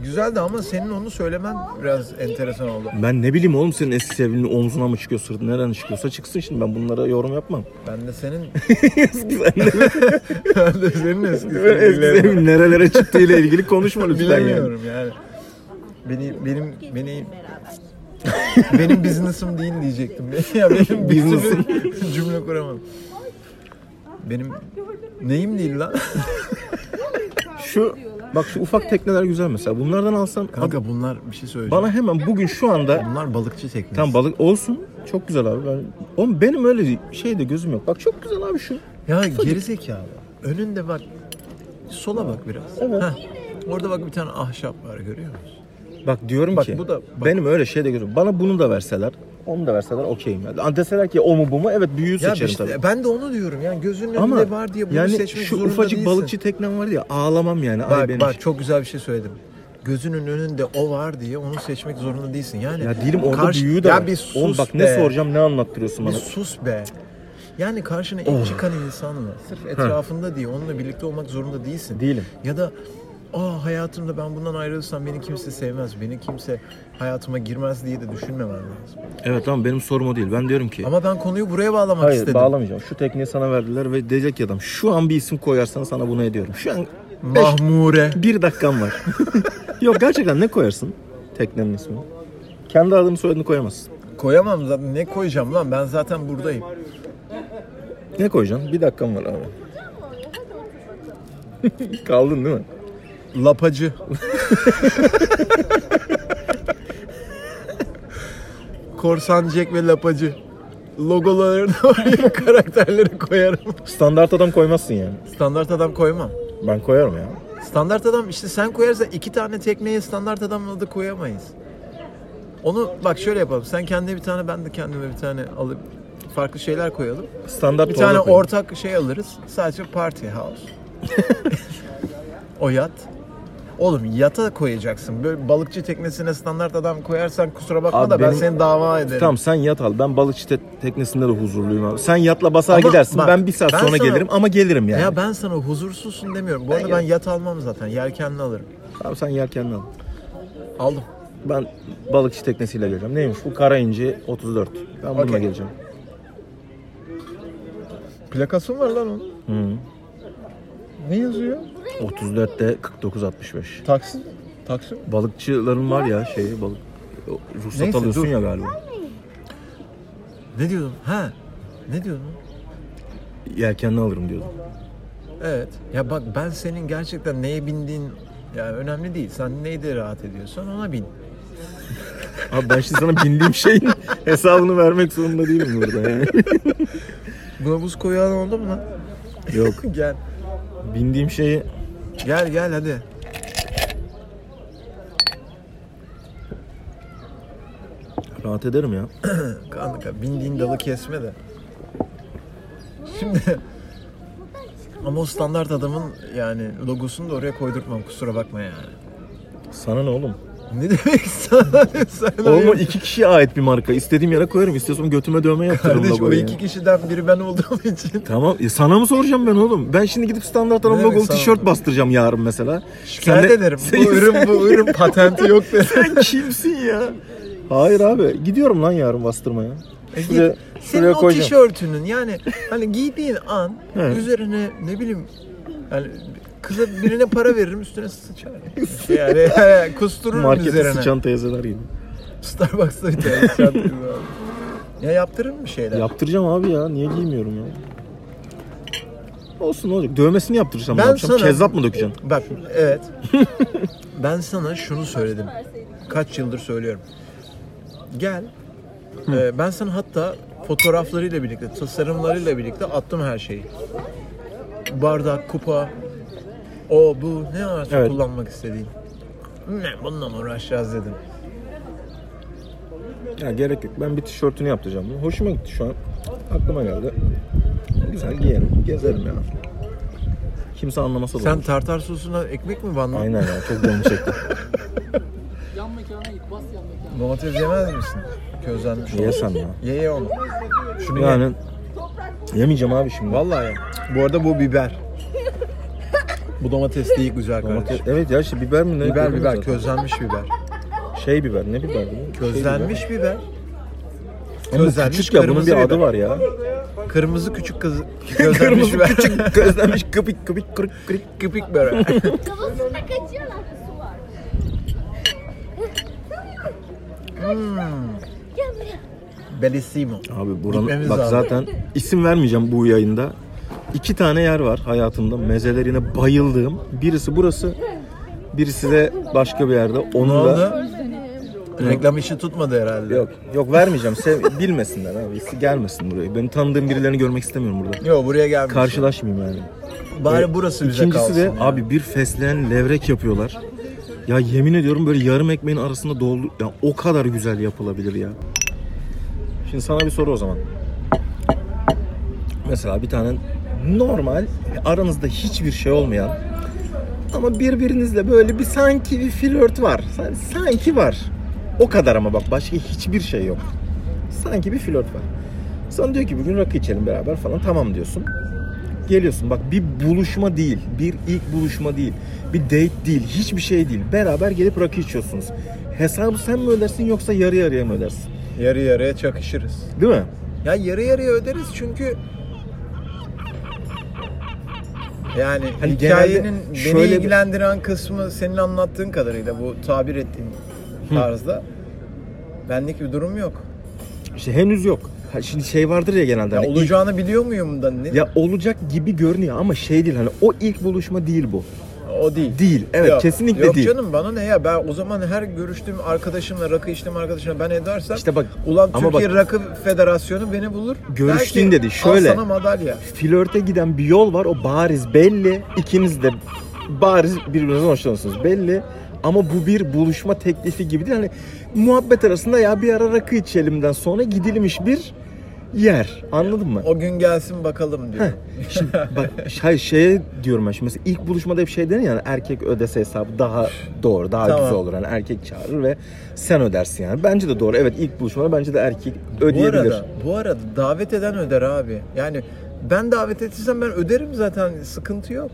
Speaker 2: Güzeldi ama senin onu söylemen biraz enteresan oldu.
Speaker 3: Ben ne bileyim oğlum senin eski sevgilinin omzuna mı çıkıyor sırtına nereden çıkıyorsa çıksın şimdi ben bunlara yorum yapmam.
Speaker 2: Ben de
Speaker 3: [LAUGHS]
Speaker 2: senin...
Speaker 3: Güzel.
Speaker 2: [LAUGHS] ben de senin eski
Speaker 3: eski
Speaker 2: sevgililerin-
Speaker 3: [LAUGHS] sevgilinin nerelere
Speaker 2: [LAUGHS]
Speaker 3: çıktığıyla ilgili konuşma lütfen yani.
Speaker 2: Bilemiyorum yani. Beni benim beni benim business'ım değil diyecektim. [LAUGHS] ya benim business'ım cümle kuramam. Benim neyim değil lan?
Speaker 3: Şu bak şu ufak tekneler güzel mesela. Bunlardan alsam abi,
Speaker 2: Kanka bunlar bir şey söyleyeceğim.
Speaker 3: bana hemen bugün şu anda
Speaker 2: bunlar balıkçı teknesi.
Speaker 3: tam balık olsun. Çok güzel abi. Ben, oğlum benim öyle şey de gözüm yok. Bak çok güzel abi şu.
Speaker 2: Ya geri zekalı. Önünde bak sola bak biraz.
Speaker 3: Evet.
Speaker 2: Heh. Orada bak bir tane ahşap var görüyor musun?
Speaker 3: Bak diyorum
Speaker 2: Bak
Speaker 3: ki
Speaker 2: bu da- bak.
Speaker 3: benim öyle şey de gözüm. Bana bunu da verseler, onu da verseler okeyim. Yani deseler ki o mu bu mu? Evet büyüğü
Speaker 2: Ya
Speaker 3: seçerim
Speaker 2: işte
Speaker 3: tabii.
Speaker 2: ben de onu diyorum. Yani gözünün
Speaker 3: Ama
Speaker 2: önünde var diye bunu
Speaker 3: yani
Speaker 2: seçmek
Speaker 3: şu
Speaker 2: zorunda
Speaker 3: ufacık
Speaker 2: değilsin.
Speaker 3: balıkçı teknem var ya ağlamam yani. Ay
Speaker 2: Bak
Speaker 3: benim.
Speaker 2: bak çok güzel bir şey söyledim. Gözünün önünde o var diye onu seçmek zorunda değilsin. Yani
Speaker 3: ya değilim orada
Speaker 2: karşı-
Speaker 3: büyüğü de
Speaker 2: ya
Speaker 3: var.
Speaker 2: bir sus
Speaker 3: oğlum bak
Speaker 2: be.
Speaker 3: ne soracağım ne anlattırıyorsun
Speaker 2: Bir
Speaker 3: bana. Oh.
Speaker 2: sus be. Yani karşına ilk çıkan insanla sırf etrafında diye onunla birlikte olmak zorunda değilsin.
Speaker 3: Değilim.
Speaker 2: Ya da aa hayatımda ben bundan ayrılırsam beni kimse sevmez, beni kimse hayatıma girmez diye de düşünmemen lazım.
Speaker 3: Evet ama benim sorum o değil. Ben diyorum ki
Speaker 2: Ama ben konuyu buraya bağlamak
Speaker 3: Hayır
Speaker 2: istedim.
Speaker 3: bağlamayacağım. Şu tekniği sana verdiler ve diyecek ki adam şu an bir isim koyarsan sana bunu ediyorum. Şu an beş,
Speaker 2: Mahmure.
Speaker 3: bir dakikan var.
Speaker 2: [LAUGHS]
Speaker 3: Yok gerçekten ne koyarsın teknenin ismini? Kendi adını soyadını koyamazsın.
Speaker 2: Koyamam zaten. Ne koyacağım lan? Ben zaten buradayım.
Speaker 3: Ne koyacaksın? Bir dakikan var abi. [LAUGHS] Kaldın değil mi? [LAUGHS]
Speaker 2: Lapacı. Korsan Jack ve Lapacı. Logolarını oraya [LAUGHS] karakterleri koyarım.
Speaker 3: Standart adam koymazsın yani.
Speaker 2: Standart adam koymam.
Speaker 3: Ben koyarım ya.
Speaker 2: Standart adam işte sen koyarsan iki tane tekmeye standart adamın adı koyamayız. Onu bak şöyle yapalım. Sen kendine bir tane ben de kendime bir tane alıp farklı şeyler koyalım.
Speaker 3: Standart
Speaker 2: Bir
Speaker 3: tuvalet
Speaker 2: tane
Speaker 3: koyarım.
Speaker 2: ortak şey alırız. Sadece party
Speaker 3: [LAUGHS]
Speaker 2: house. o yat. Oğlum yata koyacaksın. Böyle balıkçı teknesine standart adam koyarsan kusura bakma
Speaker 3: Abi
Speaker 2: da ben
Speaker 3: benim-
Speaker 2: seni dava ederim.
Speaker 3: Tamam sen yat al. Ben balıkçı te- teknesinde de huzurluyum abi. Sen yatla basağa
Speaker 2: Ama
Speaker 3: gidersin.
Speaker 2: bak,
Speaker 3: ben bir saat
Speaker 2: ben
Speaker 3: sonra
Speaker 2: sana-
Speaker 3: gelirim ama gelirim yani.
Speaker 2: Ya ben sana huzursuzsun demiyorum. Bu arada ben yat almam zaten. Yelkenli alırım.
Speaker 3: Tamam sen yelkenle al.
Speaker 2: Aldım.
Speaker 3: Ben balıkçı teknesiyle geleceğim. Neymiş bu? Karayinci 34. Ben bununla
Speaker 2: Okey.
Speaker 3: geleceğim.
Speaker 2: Plakası mı var lan onun?
Speaker 3: Hı.
Speaker 2: Ne yazıyor?
Speaker 3: 34'te 49 65.
Speaker 2: Taksi. Taksi.
Speaker 3: Balıkçıların var ya şeyi balık o, ruhsat
Speaker 2: Neyse,
Speaker 3: alıyorsun
Speaker 2: dur.
Speaker 3: ya galiba.
Speaker 2: Ne diyordum? Ha. Ne diyordum?
Speaker 3: Yelkenle alırım diyordum.
Speaker 2: Evet. Ya bak ben senin gerçekten neye bindiğin ya önemli değil. Sen neyde rahat ediyorsan ona bin.
Speaker 3: Abi ben şimdi sana
Speaker 2: [LAUGHS]
Speaker 3: bindiğim şeyin hesabını vermek zorunda değilim burada yani.
Speaker 2: Buna buz koyan oldu mu lan?
Speaker 3: Yok.
Speaker 2: gel.
Speaker 3: Bindiğim şeyi
Speaker 2: Gel gel hadi.
Speaker 3: rahat ederim ya.
Speaker 2: Kanka bindiğin dalı kesme de. Şimdi ama o standart adamın yani logosunu da oraya koydurtmam kusura bakma yani.
Speaker 3: Sana ne oğlum?
Speaker 2: Ne demek sana [LAUGHS] ne sana
Speaker 3: Oğlum o
Speaker 2: ne?
Speaker 3: iki kişiye ait bir marka. İstediğim yere koyarım. İstiyorsam götüme dövme yaptırırım
Speaker 2: Kardeş o
Speaker 3: logoyu
Speaker 2: iki
Speaker 3: yani.
Speaker 2: kişiden biri ben olduğum [LAUGHS] için.
Speaker 3: Tamam. E sana mı soracağım ben oğlum? Ben şimdi gidip standart
Speaker 2: Ne
Speaker 3: arama
Speaker 2: demek
Speaker 3: logolu
Speaker 2: sana?
Speaker 3: tişört bastıracağım yarın mesela.
Speaker 2: Şikayet
Speaker 3: Sen de-
Speaker 2: ederim.
Speaker 3: Sen-
Speaker 2: Bu ürün bu ürün patenti yok derim.
Speaker 3: [LAUGHS] Sen kimsin ya? Hayır abi. Gidiyorum lan yarın bastırmaya. Şuraya,
Speaker 2: E, Git, Senin
Speaker 3: şuraya
Speaker 2: o
Speaker 3: koyacağım.
Speaker 2: tişörtünün yani hani giydiğin an
Speaker 3: He.
Speaker 2: üzerine ne bileyim yani kıza birine para veririm üstüne sıçar. Yani, yani kustururum
Speaker 3: Markete
Speaker 2: üzerine.
Speaker 3: sıçan teyzeler gibi.
Speaker 2: Starbucks'ta bir tane sıçan teyze var. Ya yaptırır mı şeyler?
Speaker 3: Yaptıracağım abi ya. Niye giymiyorum ya? Olsun ne olacak? Dövmesini yaptıracağım.
Speaker 2: Ben
Speaker 3: Ben yapacağım?
Speaker 2: sana-
Speaker 3: Kezzap mı dökeceğim?
Speaker 2: Bak evet. [LAUGHS] ben sana şunu söyledim. Kaç yıldır söylüyorum. Gel. Ee, ben sana hatta fotoğraflarıyla birlikte, tasarımlarıyla birlikte attım her şeyi. Bardak, kupa, o bu ne varsa
Speaker 3: Evet.
Speaker 2: kullanmak istediğin. Ne bununla mı uğraşacağız dedim.
Speaker 3: Ya gerek yok. Ben bir tişörtünü yaptıracağım. Hoşuma gitti şu an. Aklıma geldi. Güzel giyerim. Gezerim ya. Kimse anlamasa da
Speaker 2: Sen
Speaker 3: olur.
Speaker 2: tartar sosuna ekmek mi bandın?
Speaker 3: Aynen ya. Çok canım [LAUGHS] çekti.
Speaker 5: Yan mekana git, bas yan mekana.
Speaker 2: Domates yemez misin? Közlenmiş olan.
Speaker 3: Yesem ya.
Speaker 2: Ye ye onu. Şunu ye.
Speaker 3: Yani yemeyeceğim abi şimdi.
Speaker 2: Vallahi ye. Bu arada bu biber. bu domates değil güzel
Speaker 3: Domates-
Speaker 2: kardeşim.
Speaker 3: Evet ya işte biber mi ne?
Speaker 2: Biber
Speaker 3: Görüyorum
Speaker 2: biber,
Speaker 3: zaten.
Speaker 2: közlenmiş biber.
Speaker 3: Şey biber ne biber? değil mi? Şey
Speaker 2: Közlenmiş biber.
Speaker 3: biber. Ama bu
Speaker 2: közlenmiş
Speaker 3: küçük ya bunun
Speaker 2: kırmızı
Speaker 3: bir adı
Speaker 2: biber.
Speaker 3: var ya.
Speaker 2: Kırmızı küçük
Speaker 3: [LAUGHS]
Speaker 2: kız [LAUGHS] közlenmiş biber.
Speaker 3: küçük közlenmiş kıpık kıpık kırık kırık.
Speaker 2: Küpik biber.
Speaker 1: Kafasına kaçıyor lan su var. Gel buraya.
Speaker 2: [LAUGHS] Bellissimo.
Speaker 3: Abi buranın
Speaker 2: Gitmemiz
Speaker 3: bak
Speaker 2: lazım.
Speaker 3: zaten isim vermeyeceğim bu yayında. İki tane yer var hayatımda mezelerine bayıldığım. Birisi burası. Birisi de başka bir yerde.
Speaker 2: Ne
Speaker 3: Onu da
Speaker 2: oldu? Reklam işi tutmadı herhalde.
Speaker 3: Yok yok vermeyeceğim. Sev- bilmesinler abi. Gelmesin buraya. Ben tanıdığım birilerini görmek istemiyorum burada.
Speaker 2: Yok buraya gelmiş.
Speaker 3: Karşılaşmayayım yani.
Speaker 2: Bari burası bize
Speaker 3: İkincisi
Speaker 2: kalsın.
Speaker 3: E, de
Speaker 2: ya.
Speaker 3: abi bir fesleğen levrek yapıyorlar. Ya yemin ediyorum böyle yarım ekmeğin arasında doldu. Ya o kadar güzel yapılabilir ya. Şimdi sana bir soru o zaman. Mesela bir tane normal aranızda hiçbir şey olmayan ama birbirinizle böyle bir sanki bir flört var. Sa- Sanki var. O kadar ama bak başka hiçbir şey yok. Sanki bir flört var. Sana diyor ki bugün rakı içelim beraber falan tamam diyorsun. geliyorsun. Bak bir buluşma değil, bir ilk buluşma değil, bir date değil, hiçbir şey değil. Beraber gelip rakı içiyorsunuz. Hesabı sen mi ödersin yoksa yarı yarıya mı ödersin?
Speaker 2: Yarı yarıya çakışırız.
Speaker 3: Değil mi?
Speaker 2: Ya yarı yarıya öderiz çünkü yani
Speaker 3: Hani
Speaker 2: hikayenin
Speaker 3: genelde
Speaker 2: beni
Speaker 3: şöyle bir-
Speaker 2: ilgilendiren kısmı senin anlattığın kadarıyla bu tabir ettiğin tarzda benlik bir durum yok.
Speaker 3: İşte henüz yok. Ha, Şimdi şey vardır ya genelde.
Speaker 2: Ya
Speaker 3: hani ilk-
Speaker 2: olacağını biliyor muyum da ne?
Speaker 3: ya olacak gibi görünüyor ama şey değil hani o ilk buluşma değil bu.
Speaker 2: O değil.
Speaker 3: Değil. Evet
Speaker 2: Yok.
Speaker 3: kesinlikle
Speaker 2: Yok
Speaker 3: değil.
Speaker 2: canım bana ne ya ben o zaman her görüştüğüm arkadaşımla rakı içtiğim arkadaşımla ben edersem
Speaker 3: İşte bak,
Speaker 2: ulan
Speaker 3: ama
Speaker 2: Türkiye Rakı Federasyonu beni bulur.
Speaker 3: Görüştüğün
Speaker 2: Der ki,
Speaker 3: dedi, şöyle.
Speaker 2: Al sana madalya.
Speaker 3: flörte giden bir yol var. O bariz belli. İkiniz de bariz birbirinizden hoşlanıyorsunuz belli. Ama bu bir buluşma teklifi gibi değil. Hani muhabbet arasında ya bir ara rakı içelimden sonra gidilmiş bir yer.
Speaker 2: [LAUGHS]
Speaker 3: Anladın mı?
Speaker 2: O gün gelsin bakalım diyor.
Speaker 3: Şimdi bak şey, şeye diyorum ben şimdi mesela ilk buluşmada hep şey denir yani erkek ödese hesabı daha doğru daha
Speaker 2: Tamam.
Speaker 3: güzel olur. Yani erkek çağırır ve sen ödersin yani. Bence de doğru. Evet ilk buluşmada bence de erkek
Speaker 2: Bu
Speaker 3: ödeyebilir.
Speaker 2: arada, bu arada davet eden öder abi. Yani ben davet etsem ben öderim zaten sıkıntı yok.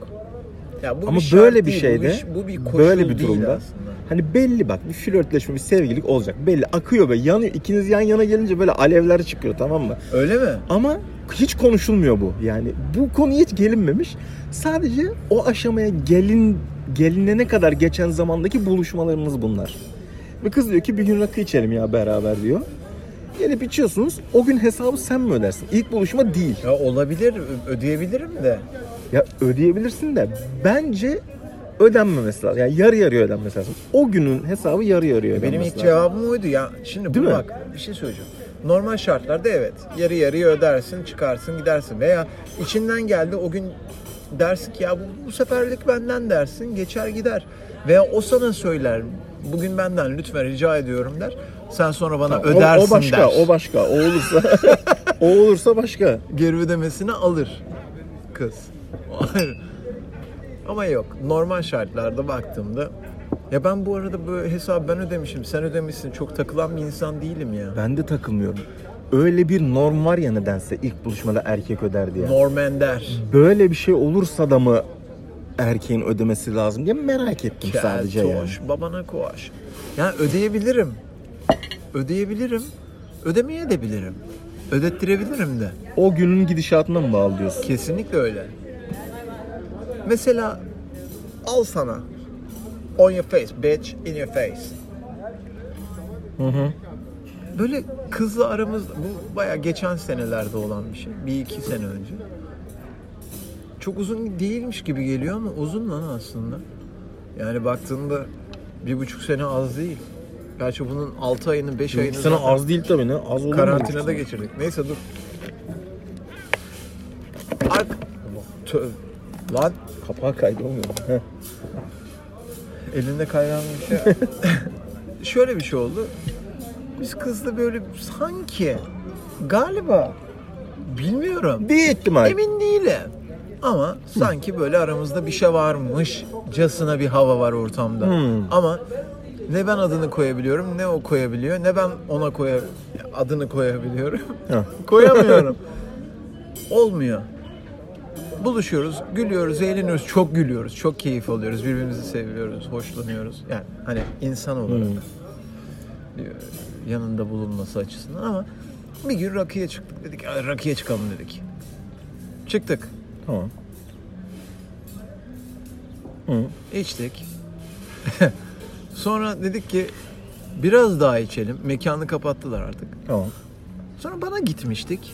Speaker 2: Ya bu
Speaker 3: Ama
Speaker 2: şart
Speaker 3: böyle bir
Speaker 2: değil, bu
Speaker 3: şeyde,
Speaker 2: iş- bu bir koşul
Speaker 3: böyle bir
Speaker 2: değil
Speaker 3: durumda,
Speaker 2: aslında.
Speaker 3: hani belli bak bir flörtleşme, bir sevgililik olacak belli akıyor ve yanıyor. İkiniz yan yana gelince böyle alevler çıkıyor tamam mı?
Speaker 2: Öyle mi?
Speaker 3: Ama hiç konuşulmuyor bu yani. Bu konu hiç gelinmemiş. Sadece o aşamaya gelin gelinene kadar geçen zamandaki buluşmalarınız bunlar. Ve kız diyor ki bir gün rakı içelim ya beraber diyor. Gelip içiyorsunuz. O gün hesabı sen mi ödersin? İlk buluşma değil.
Speaker 2: Ya olabilir, ö- ödeyebilirim de.
Speaker 3: Ya ödeyebilirsin de bence ödenmemesi lazım. Yani yarı yarıya ödenmesi lazım. O günün hesabı yarı yarıya ödenmesi
Speaker 2: Benim ilk
Speaker 3: lazım.
Speaker 2: cevabım oydu ya. Şimdi
Speaker 3: Değil
Speaker 2: bu
Speaker 3: mi?
Speaker 2: bak bir şey söyleyeceğim. Normal şartlarda evet. Yarı yarıya ödersin, çıkarsın, gidersin. Veya içinden geldi o gün dersin ki ya bu, bu seferlik benden dersin, geçer gider. Veya o sana söyler. Bugün benden lütfen rica ediyorum der. Sen sonra bana
Speaker 3: O-
Speaker 2: ödersin
Speaker 3: o, başka,
Speaker 2: der.
Speaker 3: o başka. O olursa [LAUGHS] o olursa başka.
Speaker 2: Geri ödemesini alır kız. [LAUGHS] O ayrı. Ama yok. Normal şartlarda baktığımda ya ben bu arada böyle hesabı ben ödemişim, sen ödemişsin. Çok takılan bir insan değilim ya.
Speaker 3: Ben de takılmıyorum. Öyle bir norm var ya nedense ilk buluşmada erkek öder diye.
Speaker 2: Normender.
Speaker 3: Böyle bir şey olursa da mı erkeğin ödemesi lazım diye merak ettim sadece yani.
Speaker 2: Keltoş, babana koş. Yani ödeyebilirim. Ödeyebilirim. Ödemeye de bilirim. Ödettirebilirim de.
Speaker 3: O günün gidişatına mı bağlı diyorsun?
Speaker 2: Kesinlikle öyle. Mesela al sana. On your face, bitch, in your face. Böyle kızla aramızda, bu baya geçen senelerde olan bir şey. Bir iki sene önce. Çok uzun değilmiş gibi geliyor ama uzun lan aslında. Yani baktığında bir buçuk sene az değil. Gerçi bunun altı ayını, beş ayını...
Speaker 3: İki sene
Speaker 2: zaten-
Speaker 3: az değil tabii ne? Az olur mu?
Speaker 2: Karantinada geçirdik. Neyse dur. Ark... Tö... Lan
Speaker 3: Kapağı kaydı olmuyor. mu? Heh.
Speaker 2: elinde kaynayan bir
Speaker 3: [LAUGHS]
Speaker 2: şey. Şöyle bir şey oldu. Biz kızla böyle sanki galiba bilmiyorum.
Speaker 3: Bir ihtimal.
Speaker 2: Emin değilim. Ama sanki böyle aramızda bir şey varmış. Casına bir hava var ortamda.
Speaker 3: Hmm.
Speaker 2: Ama ne ben adını koyabiliyorum ne o koyabiliyor ne ben ona koya adını koyabiliyorum.
Speaker 3: Heh.
Speaker 2: Koyamıyorum. Olmuyor. Buluşuyoruz, gülüyoruz, eğleniyoruz. Çok gülüyoruz, çok keyif alıyoruz. Birbirimizi seviyoruz, hoşlanıyoruz. Yani hani insan olarak. e, Yanında bulunması açısından ama bir gün rakıya çıktık dedik. "Ay, Rakıya çıkalım dedik. Çıktık,
Speaker 3: Tamam.
Speaker 2: içtik. [LAUGHS] Sonra dedik ki biraz daha içelim. Mekanı kapattılar artık.
Speaker 3: Tamam.
Speaker 2: Sonra bana gitmiştik.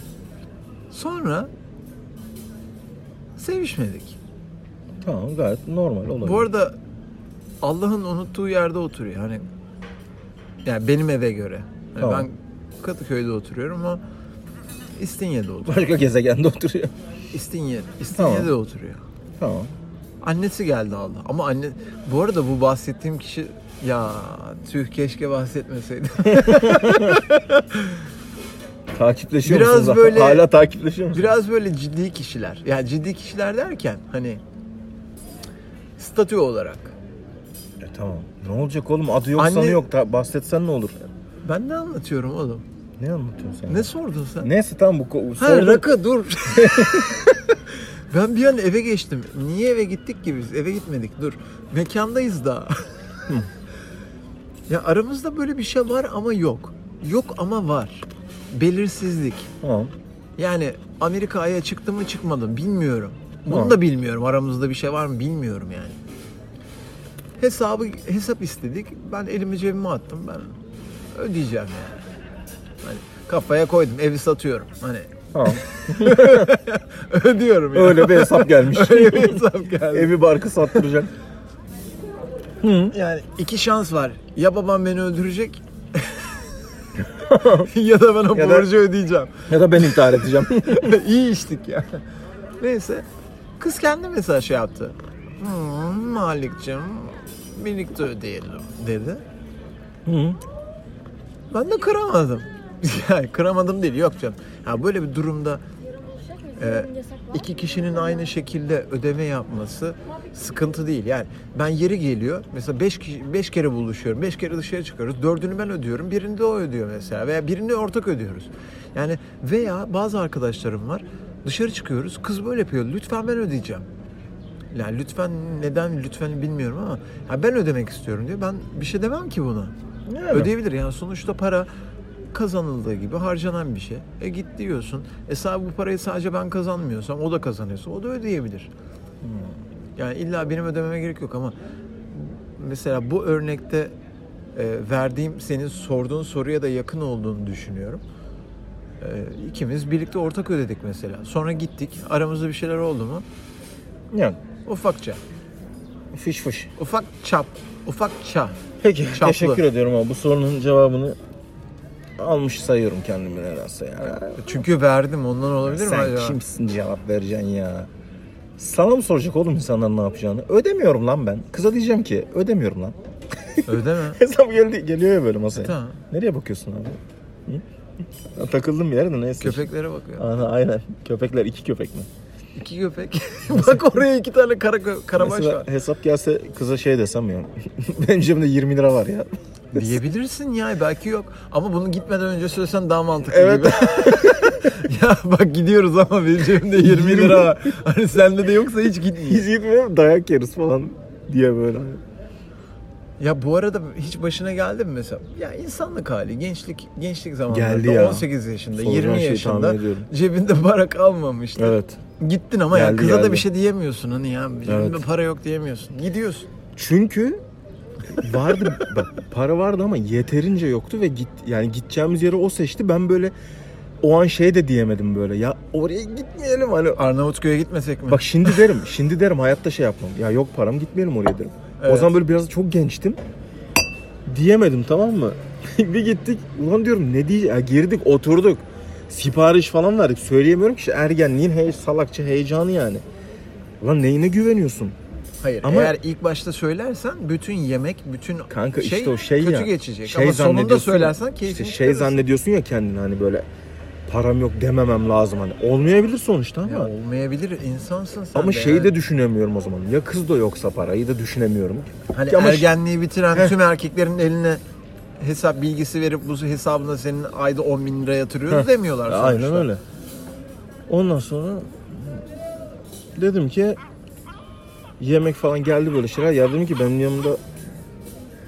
Speaker 2: Sonra sevişmedik.
Speaker 3: Tamam gayet normal olabilir.
Speaker 2: Bu arada Allah'ın unuttuğu yerde oturuyor. Hani yani benim eve göre. Hani
Speaker 3: Tamam.
Speaker 2: Ben Kadıköy'de oturuyorum ama İstinye'de oturuyor.
Speaker 3: Başka gezegende oturuyor.
Speaker 2: İstinye, İstinye'de
Speaker 3: Tamam.
Speaker 2: oturuyor.
Speaker 3: Tamam.
Speaker 2: Annesi geldi Allah. Ama anne bu arada bu bahsettiğim kişi ya tüh keşke
Speaker 3: [LAUGHS]
Speaker 2: bahsetmeseydim.
Speaker 3: Takipleşiyor
Speaker 2: Biraz
Speaker 3: musunuz?
Speaker 2: böyle-
Speaker 3: Hala takipleşiyor musunuz?
Speaker 2: Biraz böyle ciddi kişiler. Yani ciddi kişiler derken hani statü olarak.
Speaker 3: E, tamam. Ne olacak oğlum? Adı yok
Speaker 2: Anne-
Speaker 3: sanı yok. Ta- bahsetsen ne olur?
Speaker 2: Ben ne anlatıyorum oğlum?
Speaker 3: Ne anlatıyorsun sen?
Speaker 2: Ne sordun sen?
Speaker 3: Neyse tamam bu ko-
Speaker 2: ha
Speaker 3: sordum.
Speaker 2: rakı dur. [LAUGHS] Ben bir an eve geçtim. Niye eve gittik ki biz? Eve gitmedik. Dur. Mekandayız daha. [LAUGHS] ya aramızda böyle bir şey var ama yok. Yok ama var. Belirsizlik.
Speaker 3: Tamam.
Speaker 2: Yani Amerika'ya çıktı mı çıkmadı mı bilmiyorum. Bunu
Speaker 3: Tamam.
Speaker 2: da bilmiyorum. Aramızda bir şey var mı bilmiyorum yani. Hesabı hesap istedik. Ben elimi cebime attım. Ben ödeyeceğim yani. Hani kafaya koydum. Evi satıyorum. Hani [LAUGHS]
Speaker 3: Tamam.
Speaker 2: ödüyorum yani.
Speaker 3: Öyle bir hesap gelmiş.
Speaker 2: [LAUGHS] Öyle bir hesap geldi.
Speaker 3: Evi barkı sattıracak.
Speaker 2: [LAUGHS] Yani iki şans var. Ya babam beni öldürecek [LAUGHS] ya da ben o
Speaker 3: Ya da-
Speaker 2: borcu ödeyeceğim.
Speaker 3: Ya da ben
Speaker 2: [LAUGHS]
Speaker 3: intihar edeceğim.
Speaker 2: İyi içtik ya. Neyse. Kız kendi mesela şey yaptı. Hmm, Malik'cim birlikte ödeyelim dedi.
Speaker 3: Hı.
Speaker 2: Ben de kıramadım. [LAUGHS] yani kıramadım değil yok canım. Ya böyle bir durumda e, iki kişinin aynı şekilde ödeme yapması sıkıntı değil. Yani ben yeri geliyor mesela beş, kişi, beş kere buluşuyorum. Beş kere dışarı çıkıyoruz. Dördünü ben ödüyorum. Birini de o ödüyor mesela. Veya birini ortak ödüyoruz. Yani veya bazı arkadaşlarım var. Dışarı çıkıyoruz. Kız böyle yapıyor. Lütfen ben ödeyeceğim. Yani lütfen neden lütfen bilmiyorum ama ya ben ödemek istiyorum diyor. Ben bir şey demem ki buna.
Speaker 3: Yani.
Speaker 2: Ödeyebilir yani sonuçta para kazanıldığı gibi harcanan bir şey. E git diyorsun. E sahibi bu parayı sadece ben kazanmıyorsam o da kazanıyorsa o da ödeyebilir. Hmm. Yani illa benim ödememe gerek yok ama mesela bu örnekte e, verdiğim senin sorduğun soruya da yakın olduğunu düşünüyorum. E, ikimiz birlikte ortak ödedik mesela. Sonra gittik. Aramızda bir şeyler oldu mu?
Speaker 3: Yani.
Speaker 2: Ufakça.
Speaker 3: Fış fış.
Speaker 2: Ufak çap. Ufak çap.
Speaker 3: Peki
Speaker 2: Çaplı.
Speaker 3: teşekkür ediyorum ama bu sorunun cevabını almış sayıyorum kendimi nedense yani.
Speaker 2: Çünkü verdim ondan olabilir mi
Speaker 3: Sen
Speaker 2: acaba? [LAUGHS]
Speaker 3: kimsin cevap vereceksin ya? Sana mı soracak oğlum insanlar ne yapacağını? Ödemiyorum lan ben. Kıza diyeceğim ki ödemiyorum lan. [LAUGHS]
Speaker 2: Ödeme.
Speaker 3: Hesap geldi, geliyor ya böyle masaya.
Speaker 2: E, Tamam.
Speaker 3: Nereye bakıyorsun abi? Hı? Ya takıldım bir yerde neyse.
Speaker 2: Köpeklere bakıyor.
Speaker 3: Ana, aynen. Köpekler iki köpek mi?
Speaker 2: İki
Speaker 3: [LAUGHS]
Speaker 2: köpek. Bak oraya iki tane kara kö- karabaş
Speaker 3: Mesela
Speaker 2: var.
Speaker 3: hesap gelse kıza şey desem ya. [LAUGHS] Benim cebimde 20 lira var ya. [LAUGHS]
Speaker 2: Diyebilirsin ya belki yok. Ama bunu gitmeden önce söylesen daha mantıklı
Speaker 3: Evet.
Speaker 2: gibi. [LAUGHS] ya bak gidiyoruz ama benim
Speaker 3: [LAUGHS]
Speaker 2: cebimde 20 lira var. Hani sende de yoksa hiç gitmiyor.
Speaker 3: Biz gitmiyorum dayak yeriz falan diye böyle.
Speaker 2: Ya bu arada hiç başına geldi mi mesela? Ya insanlık hali, gençlik gençlik zamanlarında
Speaker 3: Geldi ya.
Speaker 2: 18 yaşında,
Speaker 3: Soracağın
Speaker 2: 20
Speaker 3: şeyi
Speaker 2: yaşında
Speaker 3: tahmin ediyorum.
Speaker 2: cebinde para kalmamıştı.
Speaker 3: Evet.
Speaker 2: Gittin ama ya
Speaker 3: Geldi,
Speaker 2: kıza da
Speaker 3: geldi.
Speaker 2: bir şey diyemiyorsun hani ya. Cebimde
Speaker 3: Evet.
Speaker 2: para yok diyemiyorsun. Gidiyorsun.
Speaker 3: Çünkü vardı bak para vardı ama yeterince yoktu ve git yani gideceğimiz yeri o seçti. Ben böyle o an şey de diyemedim böyle. Ya oraya gitmeyelim hani.
Speaker 2: Arnavutköy'e gitmesek mi?
Speaker 3: Bak şimdi derim, şimdi derim hayatta şey yapmam. Ya yok param gitmeyelim oraya derim. O
Speaker 2: Evet.
Speaker 3: zaman böyle biraz çok gençtim. Diyemedim tamam mı? [LAUGHS] bir gittik. Ulan diyorum ne diye ya girdik, oturduk. Sipariş falan verdik. Söyleyemiyorum ki işte ergenliğin hey salakça heyecanı yani. Ulan neyine güveniyorsun?
Speaker 2: Hayır.
Speaker 3: Ama-
Speaker 2: eğer ilk başta söylersen bütün yemek, bütün
Speaker 3: Kanka
Speaker 2: şey,
Speaker 3: işte o şey
Speaker 2: kötü
Speaker 3: ya.
Speaker 2: geçecek.
Speaker 3: Şey
Speaker 2: Ama sonunda
Speaker 3: zannediyorsun
Speaker 2: söylersen
Speaker 3: ya,
Speaker 2: keyfini
Speaker 3: işte şey zannediyorsun ya kendini hani böyle param yok dememem lazım hani. Olmayabilir sonuçta ama.
Speaker 2: Ya olmayabilir insansın sen
Speaker 3: ama
Speaker 2: de
Speaker 3: şeyi
Speaker 2: yani.
Speaker 3: de düşünemiyorum o zaman. Ya kız da yoksa parayı da düşünemiyorum.
Speaker 2: hani
Speaker 3: Ki ama
Speaker 2: ergenliği bitiren
Speaker 3: Heh.
Speaker 2: tüm erkeklerin eline hesap bilgisi verip bu hesabına senin ayda 10 bin lira yatırıyoruz
Speaker 3: Heh.
Speaker 2: demiyorlar sonuçta.
Speaker 3: Aynen öyle. Ondan sonra dedim ki yemek falan geldi böyle şeyler. Ya dedim ki benim yanımda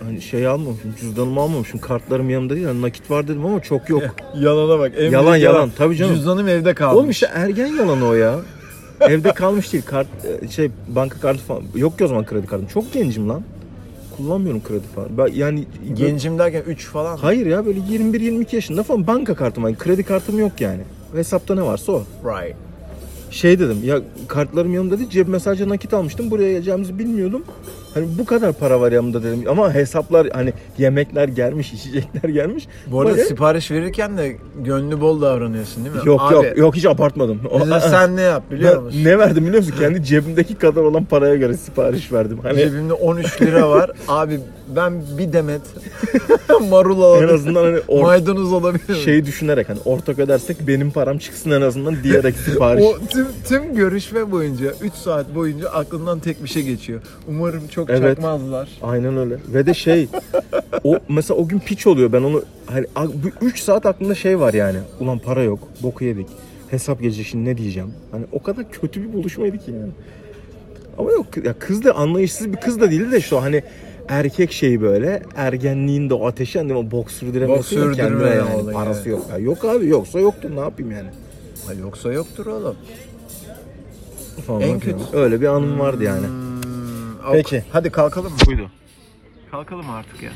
Speaker 3: hani şey almamışım, cüzdanımı almamışım, kartlarım yanımda değil. Hani nakit var dedim ama
Speaker 2: [LAUGHS]
Speaker 3: çok yok.
Speaker 2: Yalana bak. en
Speaker 3: Yalan,
Speaker 2: büyük
Speaker 3: yalan. Tabii canım.
Speaker 2: Cüzdanım evde kalmış.
Speaker 3: Oğlum işte ergen yalanı o ya. Evde kalmış değil. Kart, e, şey banka kartı falan. Yok ki o zaman kredi kartım. Çok gencim lan. Kullanmıyorum kredi falan. Ben, yani
Speaker 2: Gencim derken 3 falan.
Speaker 3: Hayır ya böyle 21-22 yaşında falan banka kartım. var. kredi kartım yok yani. Hesapta ne varsa o.
Speaker 2: Right.
Speaker 3: Şey dedim ya kartlarım yanımda değil cebime sadece nakit almıştım. Buraya geleceğimizi bilmiyordum. Hani bu kadar para var yanımda dedim. Ama hesaplar hani yemekler gelmiş, içecekler gelmiş.
Speaker 2: Bu arada
Speaker 3: Böyle-
Speaker 2: sipariş verirken de gönlü bol davranıyorsun değil mi?
Speaker 3: Yok
Speaker 2: Abi,
Speaker 3: yok yok hiç abartmadım. O- [LAUGHS]
Speaker 2: mesela sen ne yap biliyor
Speaker 3: Ben
Speaker 2: musun?
Speaker 3: ne verdim biliyor musun? Kendi cebimdeki kadar olan paraya göre sipariş verdim. Hani
Speaker 2: Cebimde 13 lira
Speaker 3: [LAUGHS]
Speaker 2: var. Abi ben bir demet [LAUGHS] marul
Speaker 3: en
Speaker 2: alabilirim.
Speaker 3: azından hani or-
Speaker 2: Maydanoz alabilirim.
Speaker 3: şeyi düşünerek hani ortak ödersek benim param çıksın en
Speaker 2: [LAUGHS]
Speaker 3: azından diyerek sipariş.
Speaker 2: o tüm, tüm görüşme boyunca 3 saat boyunca aklından tek bir şey geçiyor. Umarım çok
Speaker 3: Evet.
Speaker 2: çakmazlar.
Speaker 3: Aynen öyle. Ve de şey o mesela o gün piç oluyor. Ben onu hani 3 saat aklımda şey var yani. Ulan para yok. Boku yedik. hesap gelecek şimdi ne diyeceğim. Hani o kadar kötü bir buluşmaydı ki yani. Ama yok ya kız da anlayışsız bir kız da değildi de şu hani erkek şeyi böyle ergenliğinde o ateşi hani o bok sürdüremesi
Speaker 2: Bok
Speaker 3: yok
Speaker 2: sürdürme
Speaker 3: kendine yani.
Speaker 2: olayı,
Speaker 3: Parası
Speaker 2: evet.
Speaker 3: yok. Ya yok abi yoksa yoktur ne yapayım yani.
Speaker 2: Ha, yoksa yoktur oğlum.
Speaker 3: Falan
Speaker 2: En
Speaker 3: bakıyorum.
Speaker 2: kötüsü.
Speaker 3: Öyle bir anım vardı yani.
Speaker 2: Hmm,
Speaker 3: Peki.
Speaker 2: Hadi kalkalım mı?
Speaker 3: Buydu.
Speaker 2: Kalkalım artık ya.